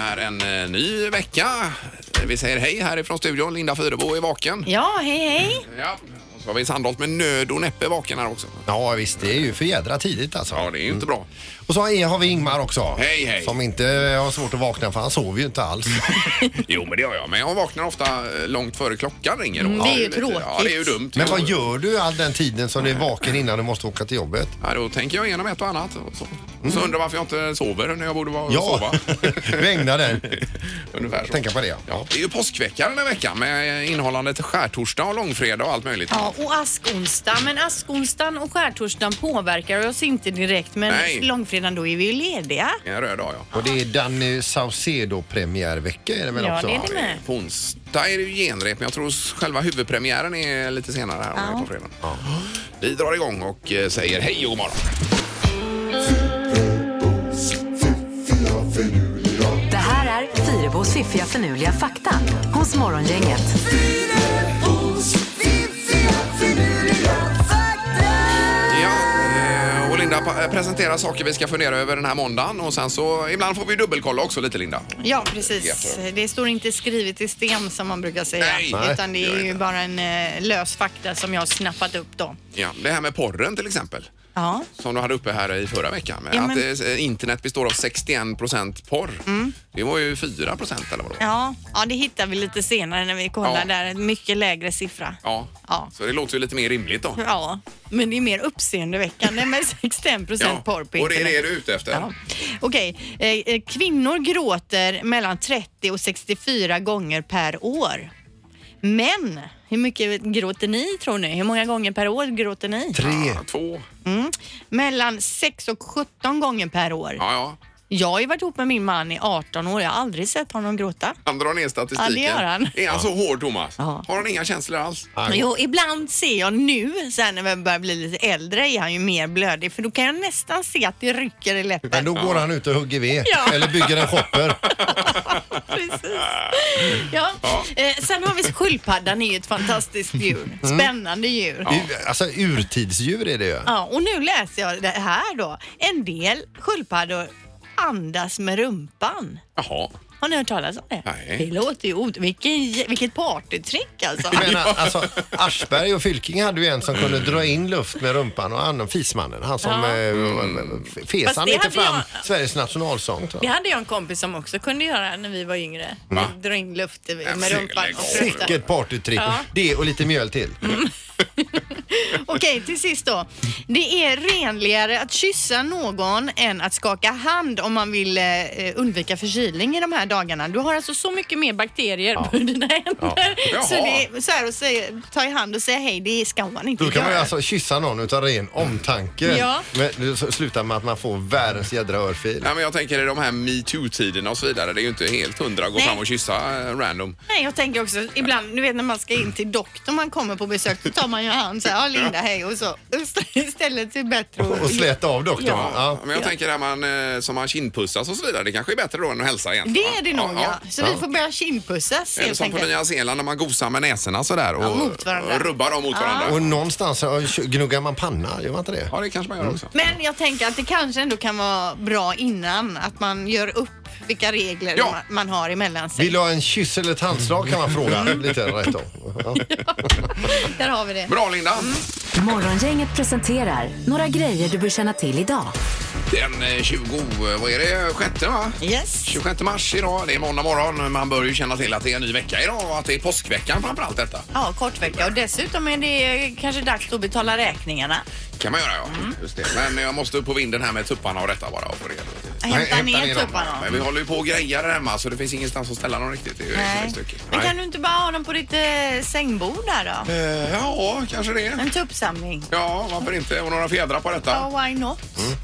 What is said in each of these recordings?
är en eh, ny vecka. Vi säger hej härifrån studion. Linda Fyrebo är vaken. Ja, hej hej. Ja. Och så har vi Sandholt med nöd och näppe vaken här också. Ja visst, det är ju för jädra tidigt alltså. Ja, det är ju inte bra. Och så har har vi Ingmar också. Hej, hej. Som inte har svårt att vakna för han sover ju inte alls. Jo, men det gör jag. Men jag vaknar ofta eh, långt före klockan ringer. då. Mm, det är ju lite- tråkigt. Ja, det är ju dumt. Men vad gör du all den tiden som du är vaken innan du måste åka till jobbet? Ja, då tänker jag igenom ett och annat. Och så, så undrar varför jag inte sover när jag borde vara Ja, sova. du ägnar den. Ungefär så. Tänka på det, ja. Ja, det är ju påskvecka den här veckan med innehållande till skärtorsdag och långfredag och allt möjligt. Ja, och askonsdag. Men askonsdagen och skärtorsdagen påverkar oss inte direkt. Men Nej. långfredagen, då är vi ju lediga. En röd dag, ja. Och det är Danny Saucedo premiärvecka är det väl Ja, också? det är det med. På onsdag är det ju genrep, men jag tror själva huvudpremiären är lite senare här om Ja. ja. på fredag. Vi drar igång och eh, säger hej och god morgon. Det här är Fyrabos fiffiga förnuliga fakta hos Morgongänget. Ja, eh, och Linda pa- eh, presenterar saker vi ska fundera över den här måndagen och sen så ibland får vi dubbelkolla också lite Linda. Ja, precis. Det står inte skrivet i sten som man brukar säga. Nej. Nej, utan det det gör är ju inte. bara en eh, lös fakta som jag har snappat upp då. Ja, det här med porren till exempel. Ja. Som du hade uppe här i förra veckan. med Ja, Att men- Mm. eh, internet består av 61 procent porr. Det var ju 4 procent eller vadå? Ja, ja, det hittar vi lite senare när vi kollar Ja. där. En mycket lägre siffra. Ja. Ja. så det låter ju lite mer rimligt då. Ja, men det är mer uppseendeväckande med 61 procent porr på och det är internet. det du är ute efter? Ja. Okej, eh, eh, kvinnor gråter mellan 30 och 64 gånger per år. Män, hur mycket gråter ni tror ni? Hur många gånger per år gråter ni? Tre. Två? Mm. Mellan 6 och 17 gånger per år. Ja, ja. Jag har ju varit ihop med min man i 18 år, jag har aldrig sett honom gråta. Han drar ner statistiken. Ja, det gör han. Är han så hård, Thomas? Ja. Har han inga känslor alls? Jo, ibland ser jag nu, sen när vi börjar bli lite äldre, är han ju mer blödig för då kan jag nästan se att det rycker i läppen. Men då går han ut och hugger ved Ja. eller bygger en shopper. Precis. Ja. Eh, sen har vi sköldpaddan, är ju ett fantastiskt djur. Mm. Spännande djur. Ur- Alltså urtidsdjur är det ju. Ja, och nu läser jag det här då. En del sköldpaddor andas med rumpan. Jaha. Har ni hört talas om det? Nej. Det låter ju ot- vilken, jä- Vilket partytrick alltså. Jag menar, alltså, Aschberg och Fylking hade ju en som kunde dra in luft med rumpan och annan fismannen. Han som Ja. Mm. eh, fes Fast han det inte hade fram jag- Sveriges nationalsång. tror Det jag. hade jag en kompis som också kunde göra när vi var yngre. Va? Dra in luft med men rumpan. lägg och av. pressa. Säkert partytrick. Ja. Mm. Det och lite mjöl till. Okej, till sist då. Det är renligare att kyssa någon än att skaka hand om man vill eh, undvika förkylning i de här dagarna. Du har alltså så mycket mer bakterier på dina händer. Jaha. Så det är så här att säga, ta i hand och säga hej, det ska man inte Då kan man ju göra. alltså kyssa någon utan ren omtanke. Ja. Men det s- slutar med att man får världens jädra örfil. Nej, men jag tänker i de här metoo-tiderna och så vidare. Det är ju inte helt hundra att gå Nej. fram och kyssa eh, random. Nej, jag tänker också ibland, du vet när man ska in till doktorn man kommer på besök, då tar man ju hand så här, ja Linda hej och så istället är det bättre att- Och släta av doktorn. Ja. Ja. Men jag tänker att man eh, som man kindpussas och så vidare. Det kanske är bättre då än att hälsa Det egentligen. va? är det nog ja. Så vi får börja kindpussas Eller helt som på enkelt. Nya Zeeland när man gosar med näsorna sådär och, Ja, mot varandra. och rubbar dem mot Ja. varandra. Och någonstans ja, gnuggar man panna, gör man inte det? Ja, det kanske man gör också. Men jag tänker att det kanske ändå kan vara bra innan att man gör upp vilka regler Ja. ma- man har emellan sig. Vill du ha en kyss eller ett handslag kan man fråga lite rätt om. Ja. Där har vi det. Bra Linda! Mm. Morgongänget presenterar några grejer du bör känna till idag. Den eh, 20, eh, vad är det, sjätte va? Yes. 26 mars idag, det är måndag morgon. Man bör ju känna till att det är en ny vecka idag och att det är påskveckan framförallt detta. Ja, kort vecka och dessutom är det kanske dags att betala räkningarna. kan man göra ja. Mm. Just det. Men jag måste upp på vinden här med tupparna och detta bara. Och på det. Hämta hämta ner ner dem. tupparna. Men vi håller ju på och grejar här hemma så det finns ingenstans att ställa dem riktigt. Det är ju Nej. stökigt. Men Nej. kan du inte bara ha dem på ditt eh, sängbord där då? Eh, Ja, kanske det. En tuppsamling. Ja, varför inte? Och några fjädrar på detta. Mm. Ja, why not?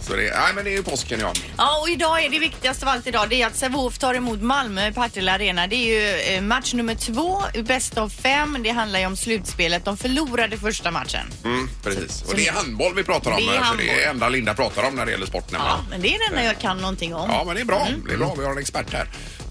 Så det, nej, men det är ju påsken ja. Ja, och idag är det viktigaste av allt idag, det är att Sävehof tar emot Malmö i Partille Arena. Det är ju eh, match nummer två, bäst av fem. Det handlar ju om slutspelet. De förlorade första matchen. Mm, precis. Och det är handboll vi pratar om. Det är eh, för det är det handboll. enda Linda pratar om när det gäller sport. Ja, Mm. Ja. men det är det enda jag kan någonting om. ja, men det är bra. Det är bra. Vi har en expert här.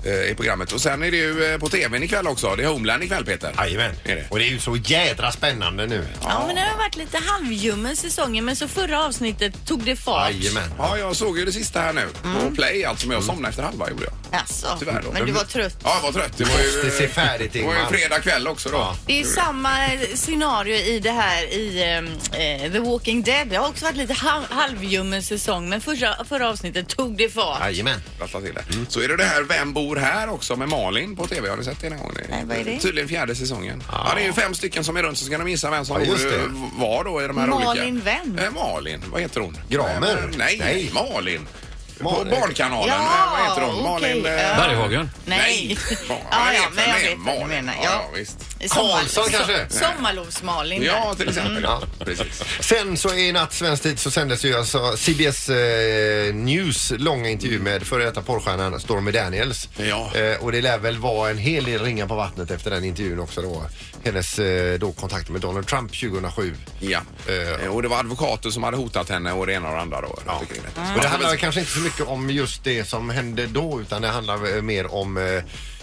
eh, i programmet. Och sen är det ju eh, på tvn ikväll också. Det är Homeland ikväll Peter. Jajamän. Är det? Och det är ju så jädra spännande nu. Ja, men det har varit lite halvljummen säsongen, men så förra avsnittet tog det fart. Jajamän. Ja, jag såg ju det sista här nu. Mm. På play alltså, men jag somnade efter halva gjorde jag. Alltså, Tyvärr då. men du var trött. Ja, jag var trött. Det var ju, Måste se färdigt, det var ju Ingmar. fredag kväll också då. Ja. Det är ju samma scenario i det här i ehm, eh, The Walking Dead. Det har också varit lite ha- halvljummen säsong, men förra, förra avsnittet tog det fart. Jajamän. Rassla till det. Så är det det här Vem bor här också med Malin på TV. Har ni sett det någon gång? Nej, vad är det? Tydligen fjärde säsongen. Ja. det är ju fem stycken som är runt så ska de gissa vem som Ja, just bor, det. eh, var då i de här Malin olika... vem? Eh, Malin, vad heter hon? Gramer? Eh, Nej, Nej. Malin. Malin. På Barnkanalen. Ja, eh, vad heter hon? okej. Malin... eh, Ja. Berghagen. Nej. Ja, ja, jag ja, vet men vem jag det är. vet vad du Malin. menar. Ja, Ja. ja, visst. Karlsson kanske? Sommarlovsmalin. Ja, till exempel. Ja, Ja. precis. Sen så i natt svensk tid så sändes ju alltså CBS eh, News långa intervju med före detta porrstjärnan Stormy Daniels. Ja. Eh, och det lär väl vara en hel del ringar på vattnet efter den intervjun också då. Hennes eh, då kontakt med Donald Trump 2007. Ja. Eh, Eh, Och det var advokater som hade hotat henne och det ena och det andra då. runt omkring detta. Och det handlar kanske inte så mycket om just det som hände då utan det handlar eh, mer om eh,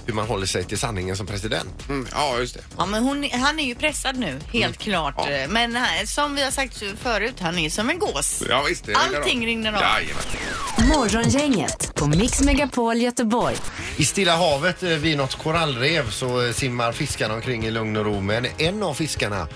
hur man håller sig till sanningen som president. Mm, Ja, just det. Ja, men hon, han är ju pressad nu, helt klart. Mm. Ja. Men eh, som vi har sagt förut, han är som en gås. Ja, visst, det Allting rinner av. Jajamän. Morgongänget på Mix Megapol Göteborg. I Stilla havet eh, vid något korallrev så eh, simmar fiskarna omkring i lugn och ro men en av fiskarna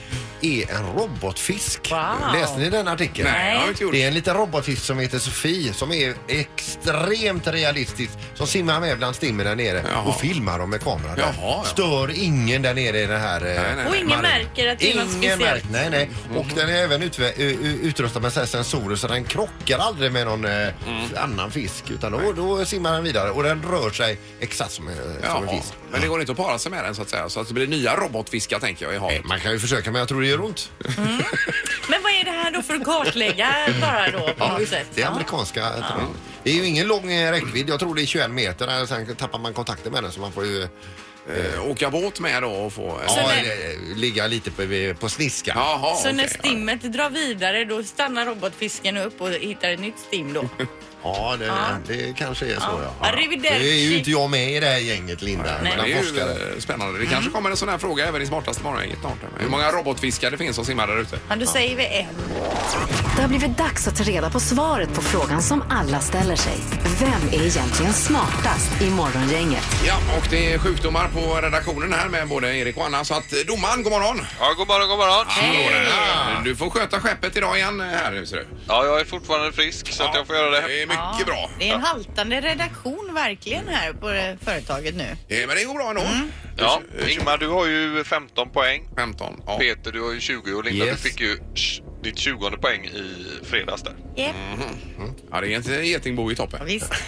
är en robotfisk. Wow. Läste ni den artikeln? Nej, jag har inte gjort Det är en liten robotfisk som heter Sofie som är extremt realistisk som simmar med bland stimmen där nere Jaha. och filmar dem med kameran. där. Jaha, ja. Stör ingen där nere i den här eh, nej, Mhm. nej. Och ingen marinen. märker att det är något Ingen speciellt. märker, nej nej. Och den är även utve- u- u- utrustad med så här sensorer så den krockar aldrig med någon eh, Mm. annan fisk utan då, då simmar den vidare och den rör sig exakt som, eh, som en Jaha, fisk. men det går inte att para sig med den så att säga. Så att det blir nya robotfiskar tänker jag i havet. Eh, Man kan ju försöka men jag tror det gör ont. Men vad är det här då för att kartlägga bara då på något sätt? Det är Ja. amerikanska. tror jag. Det är ju ingen lång eh, räckvidd. Jag tror det är 21 meter. där Sen tappar man kontakten med den så man får ju eh, Eh, åka båt med då och få... ja, när- eh, ligga lite på, på sniskan. Jaha, Så när okej. stimmet drar vidare då stannar robotfisken upp och hittar ett nytt stim då? Ja, det, det kanske är så ja. Det Arrivederci. är ju inte jag med i det här gänget Linda. Men mellan det är ju forskare. Mm. eh, spännande. Det kanske Mm. kommer en sån här fråga även i smartaste morgongänget snart. Hur många robotfiskar det finns som simmar där ute? Ja, då säger vi en. Det har blivit dags att ta reda på svaret på frågan som alla ställer sig. Vem är egentligen smartast i Morgongänget? Ja, och det är sjukdomar på redaktionen här med både Erik och Anna. Så att eh, domaren, god morgon! Ja, god morgon, god morgon. Ja, Du får sköta skeppet idag igen eh, här nu ser du. Ja, jag är fortfarande frisk så att jag får göra det. Det är mycket bra. Det är en haltande redaktion verkligen här på eh, företaget nu. Eh, Men det går bra ändå. Ja, Ingmar, du har ju 15 poäng. 15. Ja. Peter, du har ju 20 och Linda, Yes. du fick ju sh- ditt 20 poäng i fredags där. Yep. ja, det är inte getingbo i toppen. Visst.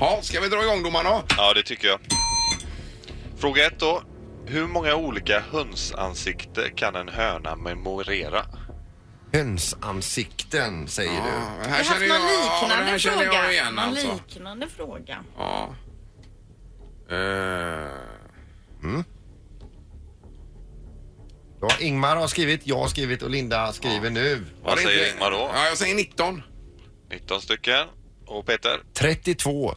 Ja, ska vi dra igång domaren då? Ja, det tycker jag. Fråga ett då. Hur många olika hönsansikte kan en höna memorera? Hönsansikten säger du. Ja, här Jag har haft känner jag, någon ja, den liknande här känner fråga. jag igen Någon alltså. liknande fråga. Ja. Eh, Ja, Ingmar har skrivit, jag har skrivit och Linda skriver nu. var Vad det säger inte- Ingmar då? Ja, jag säger 19. 19 stycken. Och Peter? 32.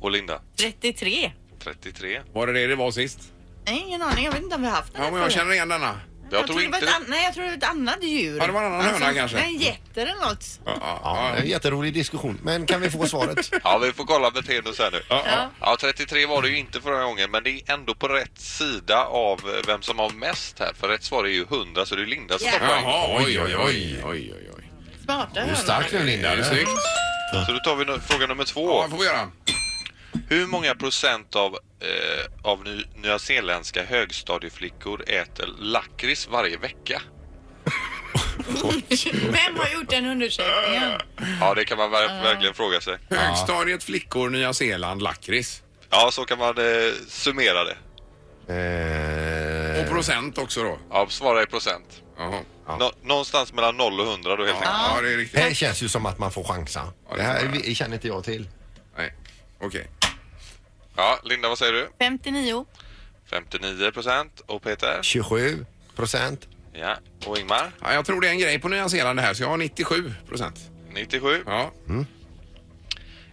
Och Linda? 33. 33. Var det det det var sist? Nej, ingen aning. Jag vet inte om vi har haft den Ja, här men jag frågan. känner igen denna. Jag tror det var inte... ett an- Nej, jag tror det var ett annat djur. Ja, Alltså, det var en annan höna kanske. En jätter eller något. Ja, ja, Ja, det är ja. en jätterolig diskussion. Men kan vi få svaret? Ja, vi får kolla beteendet här nu. Ja. Ja, 33 var det ju inte förra gången, men det är ändå på rätt sida av vem som har mest här. För rätt svar är ju 100, så det är Linda som tar Yeah. poäng. Jaha, oj, oj, oj, oj, oj, oj. Smarta Du är hönan. stark nu Linda. Ja, det är snyggt. Så då tar vi nu- fråga nummer Ja, två. vad får vi göra? Hur många procent av, eh, av ny, nyzeeländska högstadieflickor äter lakrits varje vecka? Vem har gjort den undersökningen? Ja, det kan man ver- verkligen fråga sig. Högstadiet, flickor, Nya Zeeland, lakrits. Ja, så kan man eh, summera det. Och Eh, procent också då. Ja, svara i procent. Jaha. Nå- någonstans mellan 0 och 100 då helt enkelt. Ja, det är det riktigt. här känns ju som att man får chansa. Det här vi- känner inte jag till. Nej, okej. Ja, Linda, vad säger du? 59. 59 procent. Och Peter? 27 procent. Ja. Och Ingmar? Ja, jag Mm. tror det är en grej på Nya Zeeland det här, så jag har 97 procent. 97. Ja.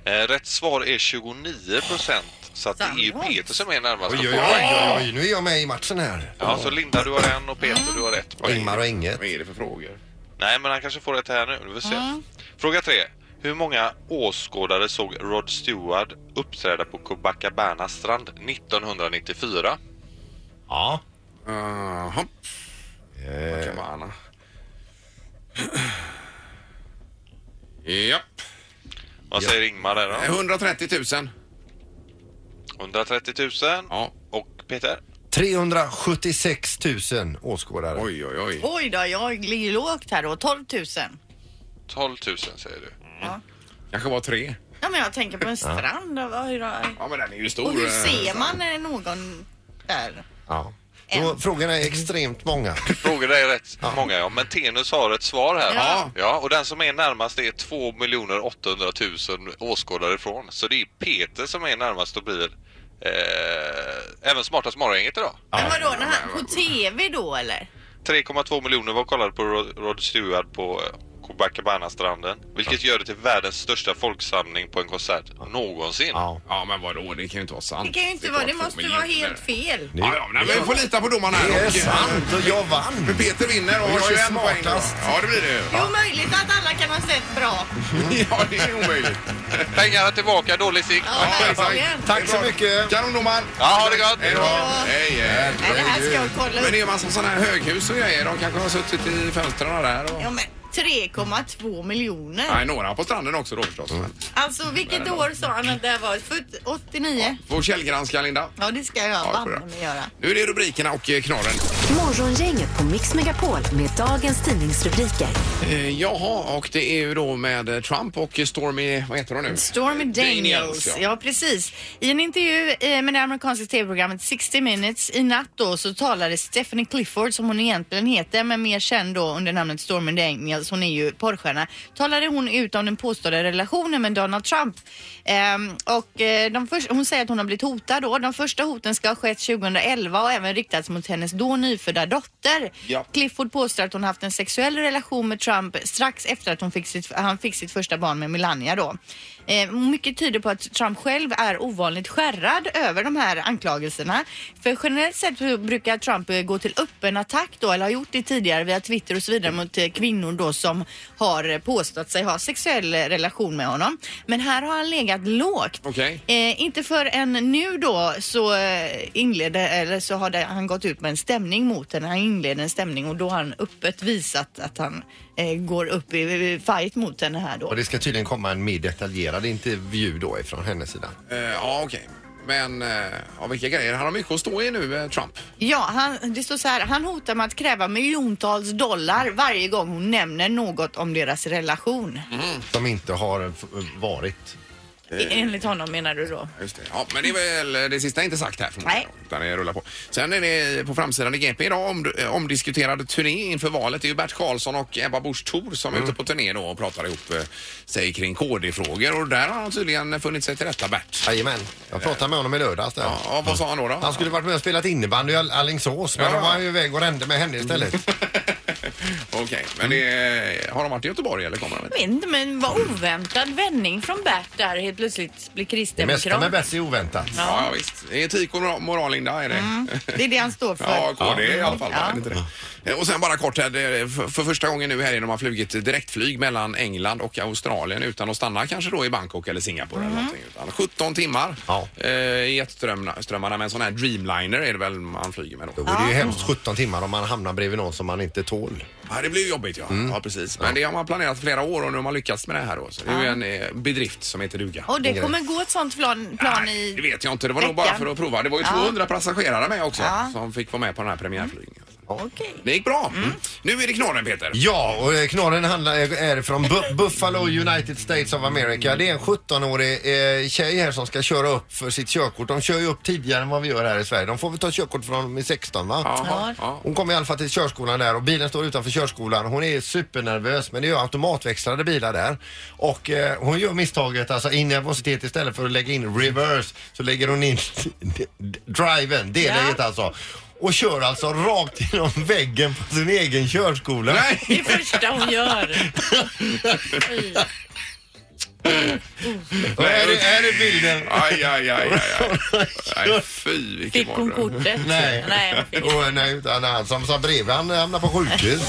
Eh, Rätt svar är 29 procent. Så att det är ju Sandholt. Peter som är närmast. Oj, oj, oj, oj, oj, nu är jag med i matchen här. Ja, så Linda du har en och Peter du har ett. Och Ingmar och Inget. Vad är det för frågor? Nej, men han kanske får ett här nu. Vi får se. Fråga tre. Hur många åskådare såg Rod Stewart uppträda på Copacabana strand 1994? Ja. Jaha, Eh, Cabana. Japp. Vad säger Ingmar där då? 130 000. 130 000. Ja. Och Peter? 376 000 åskådare. Oj, oj, oj. Oj då, jag ligger lågt här då. 12 000. 12 000 säger du. Kanske var tre. Ja, men jag tänker på en strand. och vad- hur- Ja, men den är ju stor. Och hur ser eh, man eh, någon där? Ja. Då, frågorna är extremt många. Frågorna är rätt många ja, men Tenus har ett svar här. Ja. ja och den som är närmast är 2 800 000 åskådare ifrån. Så det är Peter som är närmast och blir eh, även smartast morgongänget idag. Men vadå, när han, på TV då eller? 3,2 miljoner var kollade på Rod Rod Stewart på eh, Copacabana-stranden. Vilket gör det till världens största folksamling på en konsert någonsin. Ja. Ja, men vadå? Det kan ju inte vara sant. Det kan ju inte vara, det måste vara helt fel. Ja, ja, nej, men vi får lita på domaren här. Det är Och, eh, sant och jag vann. Peter vinner och Och jag har är 21 poäng. då. smartast. Ja, det blir det ju. Det är omöjligt att alla kan ha sett bra. Ja, det är omöjligt. Pengarna tillbaka, dålig sikt. Ja, verkligen. exakt. Tack så mycket. Kanon domaren! Ja, ha det gott. Hej då! Hej, hej. Nej, alltså- det här ska jag kolla Men det upp. är massa sådana här höghus och grejer. De kanske har suttit i fönstren där. Och... Ja, men 3,2 miljoner. Nej, några på stranden också då förstås. Alltså vilket år sa han att det här var? Fött- 89? Får källgranska Linda. Ja, det ska jag Ja, det får banne mig göra. Nu är det rubrikerna och eh, knorren. Morgongänget på Mix Megapol med dagens tidningsrubriker. Eh, jaha, och det är ju då med eh, Trump och Stormy, vad heter hon nu? Stormy Daniels, ja. ja. precis. I en intervju eh, med det amerikanska tv-programmet 60 minutes i natt då så talade Stephanie Clifford som hon egentligen heter men mer känd då under namnet Stormy Daniels, hon är ju porrstjärna, talade hon ut om den påstådda relationen med Donald Trump. Ehm, och eh, de först, hon säger att hon har blivit hotad då. De första hoten ska ha skett 2011 och även riktats mot hennes då nyfödda dotter. Ja. Clifford påstår att hon haft en sexuell relation med Trump strax efter att hon fick sitt, han fick sitt första barn med Melania då. Eh, mycket tyder på att Trump själv är ovanligt skärrad över de här anklagelserna. För generellt sett så brukar Trump eh, gå till öppen attack då, eller har gjort det tidigare via Twitter och så vidare mot eh, kvinnor då som har eh, påstått sig ha sexuell eh, relation med honom. Men här har han legat lågt. Okej. Eh, inte förrän nu då så eh, inledde, eller så har det, han gått ut med en stämning mot henne. Han inledde en stämning och då har han öppet visat att han eh, går upp i, i fight mot henne här då. Och det ska tydligen komma en mer detaljerad intervju då ifrån hennes sida. Eh, ja, okej. Men eh, ja, vilka grejer. Han har mycket att stå i nu, eh, Trump. Ja, han, det står så här. Han hotar med att kräva miljontals dollar varje gång hon nämner något om deras relation. Mm. Som inte har f- varit. E- Enligt honom menar du då? Just det. Ja, men det är väl eh, det sista är inte sagt här förmodligen. Nej. Utan det rullar på. Sen är det på framsidan i GP idag om, eh, omdiskuterad turné inför valet. Det är ju Bert Karlsson och Ebba Busch Thor som är ute på turné då och pratar ihop eh, sig kring KD-frågor och där har han tydligen funnit sig till rätta, Bert. Jajamän. Jag pratade med honom i lördags där. Ja, ja, vad sa han då? då? Han skulle varit med och spelat innebandy i All- Alingsås men Ja. då var han ju iväg och rände med henne istället. Okej, men det, eh, har de varit i Göteborg eller kommer de? inte? Jag vet inte, men vad oväntad vändning från Bert där helt plötsligt blir Det mesta med kristdemokrat. Betsy är oväntat. Ja, ja visst. Etik och mora- moral, Linda, är det. Det är det han står för. Ja, KD i alla fall. va? Ja. Är det inte det? Eh, Och sen bara kort här, det är för för första gången nu här har man flugit direktflyg mellan England och Australien utan att stanna kanske då i Bangkok eller Singapore eller Mhm. någonting. Utan 17 timmar Ja. eh, i jetströmmarna med en sån här Dreamliner är det väl man flyger med då. Då är det ju hemskt 17 timmar om man hamnar bredvid någon som man inte tål. Ja, det blir ju jobbigt ja. Mm. Ja, precis. Men det har man planerat flera år och nu har man lyckats med det här då. Så det är ju en eh, bedrift som heter duga. Och det kommer gå ett sånt plan, plan Nej, Det i... vet jag inte. Det var nog bara veckan. för att prova. Det var ju 200 passagerare med också som fick vara med på den här premiärflygningen. Okej. Mm. Det gick bra. Nu är det knorren Peter. Ja, och eh, knorren handlar, är från Bu- Buffalo United States of America. Det är en 17-årig eh, tjej här som ska köra upp för sitt körkort. De kör ju upp tidigare än vad vi gör här i Sverige. De får väl ta körkort från de är 16 va? Jaha, ja. Hon kommer i alla fall till körskolan där och bilen står utanför körskolan. Hon är supernervös men det är ju automatväxlade bilar där. Och eh, hon gör misstaget, alltså i nervositet istället för att lägga in reverse så lägger hon in driven, det Ja. läget alltså. Och kör alltså rakt genom väggen på sin egen körskola. Nej! Det första hon gör. Och här, är, här är bilden. Aj, aj, aj, aj, aj. Nej, fy vilken Fick hon mardröm. kortet? Nej. Nej, hon fick Och, eh, nej, utan han som satt bredvid han hamnade på sjukhus.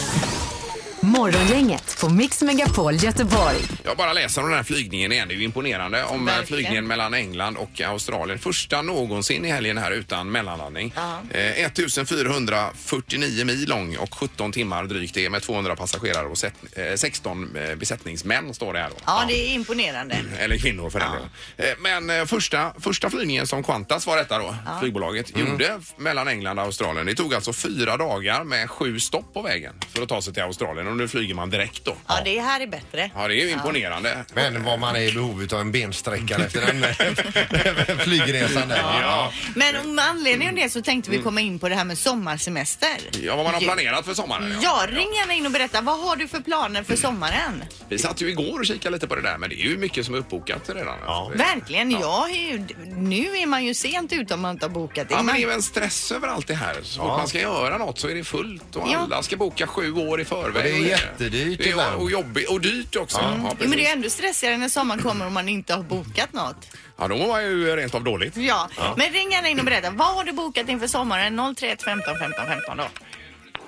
Morgongänget på Mix Megapol Göteborg. Jag bara läser om den här flygningen igen. Det är ju imponerande. Om eh, Verkligen. flygningen mellan England och Australien. Första någonsin i helgen här utan mellanlandning. Eh, 1449 mil lång och 17 timmar drygt det med 200 passagerare och set- eh, 16 eh, besättningsmän står det här då. Ja, det är imponerande. Eller kvinnor för den delen. Eh, Men eh, första, första flygningen som Qantas var detta då, flygbolaget, Mm. gjorde f- mellan England och Australien. Det tog alltså fyra dagar med sju stopp på vägen för att ta sig till Australien och nu flyger man direkt då. Ja, det här är bättre. Ja, det är ju imponerande. Men vad man är i behov av en bensträckare efter den flygresan där. Ja. Men med anledning av det så tänkte vi komma in på det här med sommarsemester. Ja, vad man har planerat för sommaren. Ja, ring gärna in och berätta. Vad har du för planer för sommaren? Vi satt ju igår och kikade lite på det där, men det är ju mycket som är uppbokat redan. Alltså, Ja. Verkligen, jag är ju, nu är man ju sent ute om man inte har bokat Ja, in. men det är Man, ju en stress över allt det här. Så fort man ska göra något så är det fullt och Ja. alla ska boka sju år i förväg. det är jättedyrt Det är, ibland. och jobbigt och dyrt också. Ja, jo, men det är precis. ju ändå stressigare när sommaren kommer om man inte har bokat något. Ja, då var ju rent av dåligt. Ja, men ring gärna in och berätta. Vad har du bokat inför sommaren? 031 15 15 15 då.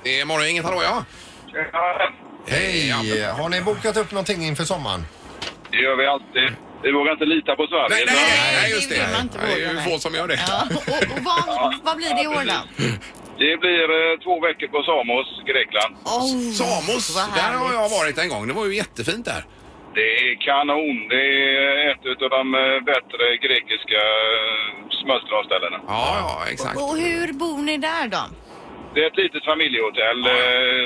Det är morgongänget, hallå ja. Hej! Har ni bokat upp någonting inför sommaren? Det gör vi alltid. Vi vågar inte lita på Sverige. Nej, nej, nej, Nej, nej, just det det. vill man inte Nej, det är ju våga, få nej. som gör det. Ja, och och vad, vad blir det i år då? Det blir eh, två veckor på Samos, Grekland. Oh, Samos, vad där har härligt. jag varit en gång. Det var ju jättefint där. Det är kanon. Det är ett av de eh, bättre grekiska eh, smultronställena. Ja, ja, exakt. Och hur bor ni där då? Det är ett litet familjehotell eh,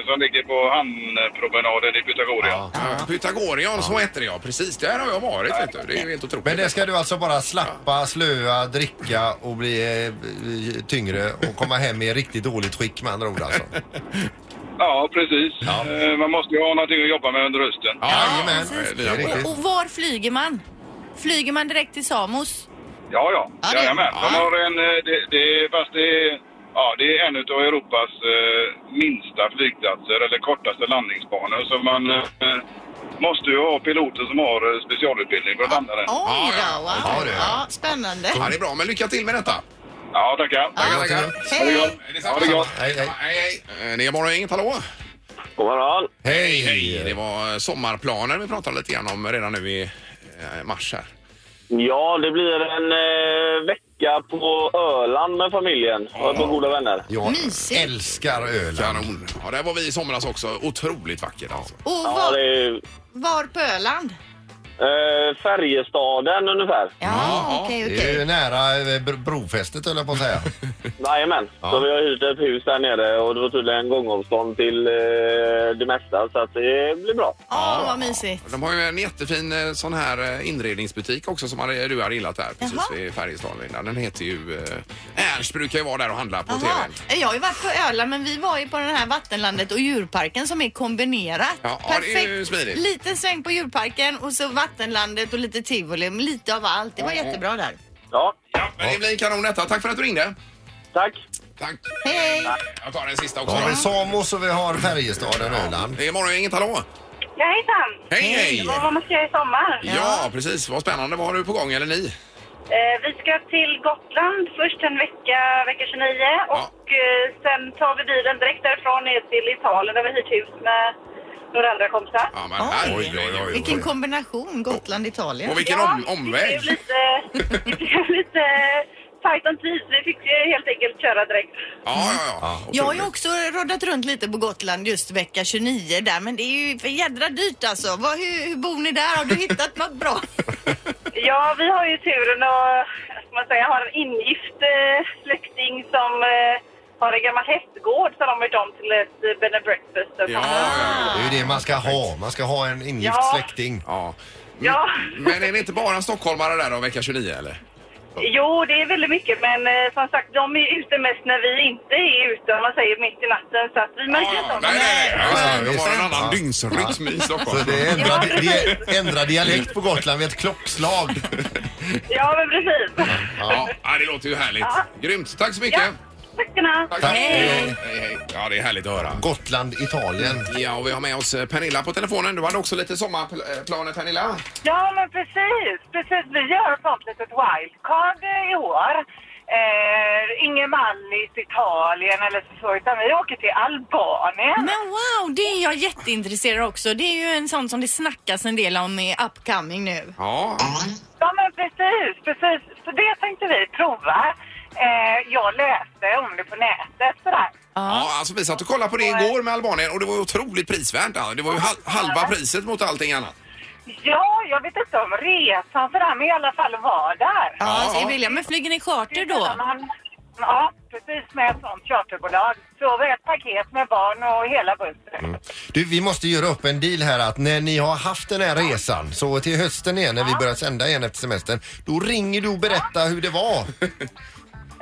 som ligger på hamnpromenaden i Pythagoria. Ja, Pythagorean, så hette det ja. Precis, där har jag varit. Vet du. Det är ju helt otroligt. Men det ska du alltså bara slappa, slöa, dricka och bli eh, tyngre och komma hem i riktigt dåligt skick med andra ord alltså. Ja, precis. Eh, Man måste ju ha någonting att jobba med under hösten. Ja, Jajamän. precis. Det är riktigt. Och, och var flyger man? Flyger man direkt till Samos? Ja, ja. Ja, det- Jajamän. De ja. har en... eh, Det, det, fast det är... Ja, det är en av Europas eh, minsta flygplatser eller kortaste landningsbanor. Så man eh, måste ju ha piloter som har eh, specialutbildning för att landa den. Oj ja. då, wow. Ja, det är- ja, spännande. Ja, det är bra. Men lycka till med detta. Ja, tackar. Tackar, Ja. tackar. Hej! Detsamma. Ha det gott. Hej, hej. Hej, hej. Eh, Det är morgongänget, hallå. God morgon. Hej! Hej. Det var sommarplaner vi pratade lite grann om redan nu i eh, mars här. Ja, det blir en eh, vecka på Öland med familjen och ett par goda vänner. Jag Mysigt. älskar Öland. Kanon. Ja, där var vi i somras också. Otroligt vackert alltså. Och Ja, det var, är var på Öland? eh, Färjestaden ungefär. Ja, okej, Det är okej. ju nära eh, br- brofästet höll jag på att säga. Jajamän. Så vi har hyrt ett hus där nere och det var tydligen gångavstånd till eh, det mesta så att det blir bra. Åh, vad mysigt. De har ju en jättefin eh, sån här eh, inredningsbutik också som hade- du har gillat där precis Jaha. vid Färjestaden. Linda. Den heter ju... Eh, Ernst brukar ju vara där och handla på Jaha. tvn. Jag har ju varit på Öland men vi var ju på den här vattenlandet och djurparken som är kombinerat. Ja, ja, det är ju smidigt. Liten sväng på djurparken och så vattenlandet och lite tivoli. Lite av allt. Det var Mm. jättebra där. Ja, Ja, men det blir kanon detta. Tack för att du ringde. tack. Tack. Hej! Jag tar den sista Då också. har vi Då. Samos och vi har Färjestaden Öland. Det är morgongänget, hallå! Ja, hejsan! Hej, hej! Och vad man ska göra i sommar? Ja, precis. Vad spännande. Vad har du på gång, eller ni? Eh, vi ska till Gotland först en vecka, vecka 29. Och eh, sen tar vi bilen direkt därifrån ner till Italien där vi hyrt hus med några andra kompisar. Ja, men Oj. här. Oj, Vilken kombination, Gotland-Italien. Och vilken om, omväg. Det blev lite, det blev lite tajt om tid så vi fick ju helt enkelt köra direkt. Ja, ja, ja. Jag har ju Otroligt. också roddat runt lite på Gotland just vecka 29 där men det är ju för jädra dyrt alltså. Vad, hur, hur bor ni där? Har du hittat något bra? Ja, vi har ju turen att, vad ska man säga, ha en ingift eh, släkting som eh, har en gammal hästgård som de har gjort om till ett eh, bed and breakfast. Ja, ja, Det är ju det man ska ha. Man ska ha en ingift Ja. släkting. ja. Ja. Men är det inte bara stockholmare där då, vecka 29, eller? Jo, det är väldigt mycket, men eh, som sagt, de är ute mest när vi inte är ute, om man säger mitt i natten, så att vi märker inte Ja, av nej, dem. nej, nej. Ja, Nej, De har en visst. annan Ja. dygnsrytm i Stockholm. Så det är ändra, Ja, det är ändra dialekt på Gotland vid ett klockslag. Ja, men precis. Ja, det låter ju härligt. Grymt. Tack så mycket. Ja. Tack ska Tack. Hej, hej. Ja, det är härligt att höra. Gotland, Italien. Ja, och vi har med oss eh, Pernilla på telefonen. Du hade också lite sommarplaner, Pernilla. Ja, men precis. precis. Vi har fått ett litet wildcard eh, i år. Eh, ingen Mallis, Italien eller så, utan vi åker till Albanien. Men wow, det är jag jätteintresserad också. Det är ju en sån som det snackas en del om i upcoming nu. Ja, Ja, men precis, precis. Så det tänkte vi prova. Eh, jag läste om det på nätet sådär. ja alltså vi satt och kollade på det igår med Albanien och det var ju otroligt prisvärt. Ja, Det var ju hal halva priset mot allting annat. Ja, jag vet inte om resan för han, men i alla fall var där. Ja, Ja, så är ja. William. Men flyger ni charter Utan då? han- Ja, precis med ett sånt charterbolag. Så ett paket med barn och hela bussen. Du, vi måste göra upp en deal här att när ni har haft den här resan, så till hösten igen när vi börjar sända igen efter semestern, då ringer du och berättar hur det var.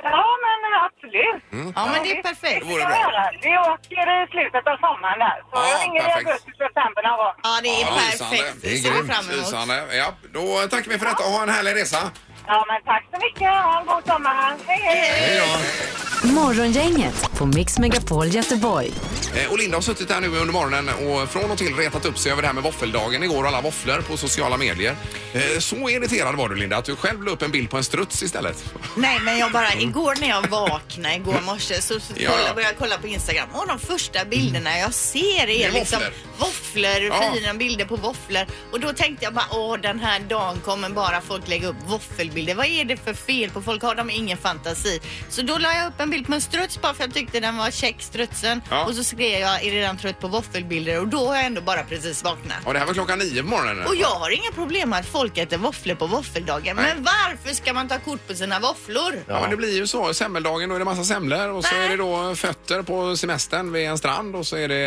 Ja, men absolut. Ja, men Mm. det är perfekt. Det vore Ja, bra. Vi åker i slutet av sommaren där. Så Ja, jag ringer i perfekt. augusti, september någon gång. Ja, det är Ja, perfekt. lysande. Det ser jag fram emot. Lysande. Ja, då tackar vi för detta och ha en härlig resa. Ja, men tack så mycket. Ha en god sommar. Hej, hej. Hej då. Morgongänget på Mix Megapol Göteborg. Eh, Och Linda har suttit här nu under morgonen och från och till retat upp sig över det här med våffeldagen igår och alla våfflor på sociala medier. Eh, Så irriterad var du Linda att du själv la upp en bild på en struts istället. Nej, men jag bara igår när jag vaknade igår morse så, så Ja. kolla, började jag kolla på Instagram och de första bilderna jag ser Det är, är liksom våfflor. våfflor, Ja. fina bilder på våfflor och då tänkte jag bara åh den här dagen kommer bara folk lägga upp våffelbilder. Vad är det för fel på folk? Har de ingen fantasi? Så då la jag upp en bild på en struts bara för jag tyckte den var käck strutsen Ja. och så skrev jag är redan trött på våffelbilder och då har jag ändå bara precis vaknat. Och det här var klockan nio på morgonen. Och jag har inga problem med att folk äter våfflor på våffeldagen. Nej. Men varför ska man ta kort på sina våfflor? Ja, men det blir ju så. Semmeldagen, då är det massa semlor och så är det då fötter på semestern vid en strand och så är det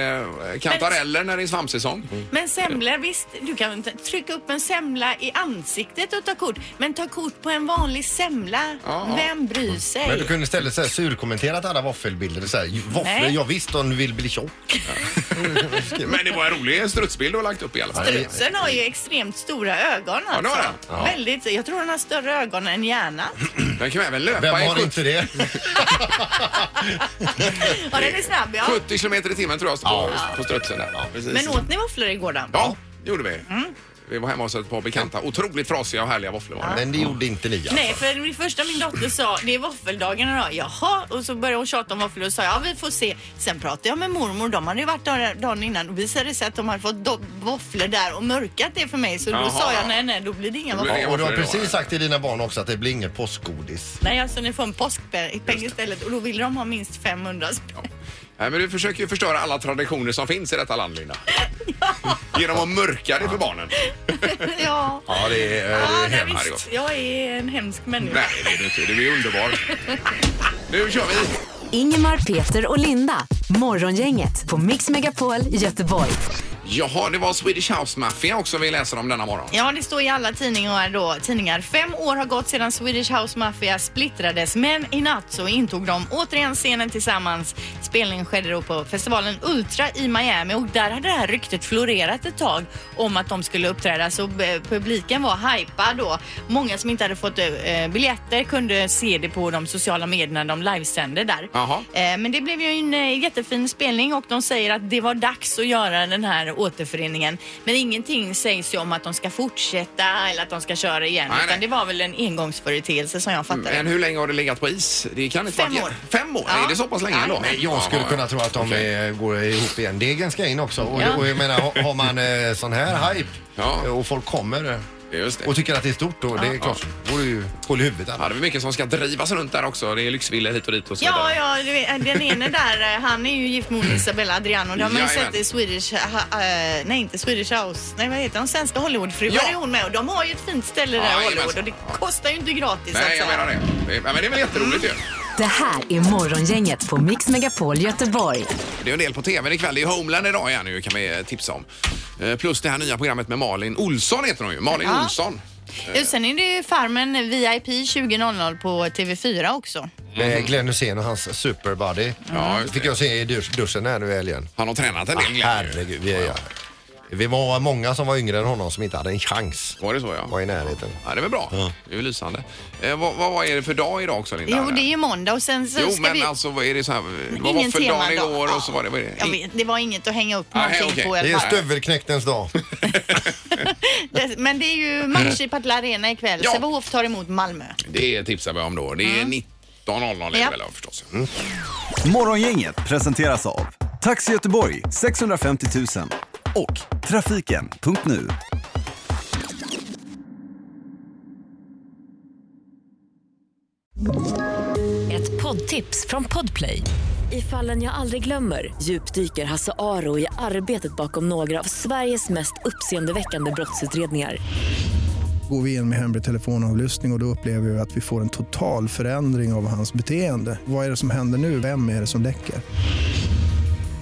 eh, kantareller när det är svampsäsong. Mm. Men semlor, visst, du kan t- trycka upp en semla i ansiktet och ta kort. Men ta kort på en vanlig semla, Ja, ja. vem bryr sig? Men du kunde istället så här surkommenterat alla våffelbilder. Så här, våfflor, Nej. jag visste om du vill bli tjock. Men det var en rolig strutsbild du har lagt upp i alla fall. Strutsen har ju extremt stora ögon Ja, det alltså. har den. Väldigt, jag tror den har större ögon än hjärnan. Den kan även löpa Vem i har sjut- inte det? Ja, den är snabb ja. 70 kilometer i timmen tror jag på, på strutsen där. Ja, precis. Men åt ni våfflor igår då? Ja, det gjorde vi. Vi var hemma hos ett par bekanta. Otroligt frasiga och härliga våfflor var det. Men det gjorde inte ni alltså. Nej, för det första min dotter sa det är våffeldagen idag. Jaha, och så började hon tjata om våfflor och sa ja vi får se. Sen pratade jag med mormor, de hade ju varit där dagen innan och visade sig att de hade fått do- våfflor där och mörkat det för mig. Så då Jaha. sa jag nej nej då blir det inga Då blir våfflor. det- Ja, och du har Varför det då? precis sagt till dina barn också att det blir inget påskgodis. Nej alltså ni får en påskpeng istället och då ville de ha minst 500 spänn. Nej, men du försöker ju förstöra alla traditioner som finns i detta land, Linda. Genom att mörka det för barnen. ja. Ja, det är, Ja, nej, hemma, det visst. Jag är en hemsk människa. Nej, det är du inte. Du är underbar. Nu kör vi! Ingemar, Peter och Linda. Morgongänget på Mix Megapol Göteborg. Jaha, det var Swedish House Mafia också vi läser om denna morgon. Ja, det står i alla tidningar då. Tidningar. Fem år har gått sedan Swedish House Mafia splittrades, men i natt så intog de återigen scenen tillsammans. Spelningen skedde då på festivalen Ultra i Miami och där hade det här ryktet florerat ett tag om att de skulle uppträda, så eh, publiken var hypad då. Många som inte hade fått eh, biljetter kunde se det på de sociala medierna de livesände där. Jaha. Eh, Men det blev ju en eh, jättefin spelning och de säger att det var dags att göra den här återföreningen. Men ingenting sägs ju om att de ska fortsätta eller att de ska köra igen. Nej, utan nej. Mm, det var väl en engångsföreteelse som jag fattar Men det. hur länge har det legat på is? Det kan inte Fem vara- år. Fem år? Ja. Är det så pass länge Ja. ändå? Men jag skulle Ja, kunna tro att de Okej. eh, går ihop igen. Det är ganska in också. Och, Ja. och jag menar, har- har man eh, sån här hype Ja. eh, och folk kommer eh, Just det. och tycker att det är stort då, det är klart, då vore ju hål i huvudet. Ja, annars. det är mycket som ska drivas runt där också. Det är lyxvillor hit och dit och så Ja, vidare. ja, du vet, den ene där, eh, han är ju gift med hon Isabella Adriano. Det har man ju Jajamän. sett i Swedish, ha, eh, nej inte Swedish House, nej vad heter de, Svenska Hollywoodfruar Ja. är hon med och de har ju ett fint ställe Ja, där i Hollywood jajamensan. och det kostar ju inte gratis Nej, jag säga. menar det. det. är- Men det är väl jätteroligt ju. Det här är Morgongänget på Mix Megapol Göteborg. Det är en del på tvn ikväll. Det är Homeland idag igen nu kan vi eh, tipsa om. Eh, Plus det här nya programmet med Malin Olsson heter hon ju. Malin Ja. Olsson. Ja, Sen är det ju Farmen VIP 20.00 på TV4 också. Med Glenn Hysén och hans superbody. Mm. Ja, just fick det. jag se i dusch, duschen här nu i helgen. Ah, Han har tränat en del. Glenn, ju. Herregud, vi är, ja. Vi var många som var yngre än honom som inte hade en chans. Var det så ja? Var i närheten. Ja, det är väl bra. Ja. Det är väl lysande. Eh, vad, vad vad är det för dag idag också Linda? Jo, det är ju måndag och sen så Jo, ska men vi... alltså vad är det så här? Vad var Ingen för dagen temadag. igår Ja. och så var det... Vad är det? Jag vet, det var inget att hänga upp Nej, någonting okej. på i Det är alla fall. stövelknäktens dag. Det- Men det är ju match i Partille Arena ikväll. Mm. Ja. Sävehof tar emot Malmö. Det tipsar vi om då. Det är 19.00 Ja. ikväll ja. förstås. Mm. Morgongänget presenteras av Taxi Göteborg 650 000 och Trafiken.nu. Ett poddtips från Podplay. I fallen jag aldrig glömmer djupdyker Hasse Aro i arbetet bakom några av Sveriges mest uppseendeväckande brottsutredningar. Går vi in med hemlig telefonavlyssning och, och då upplever vi att vi får en total förändring av hans beteende. Vad är det som händer nu? Vem är det som läcker?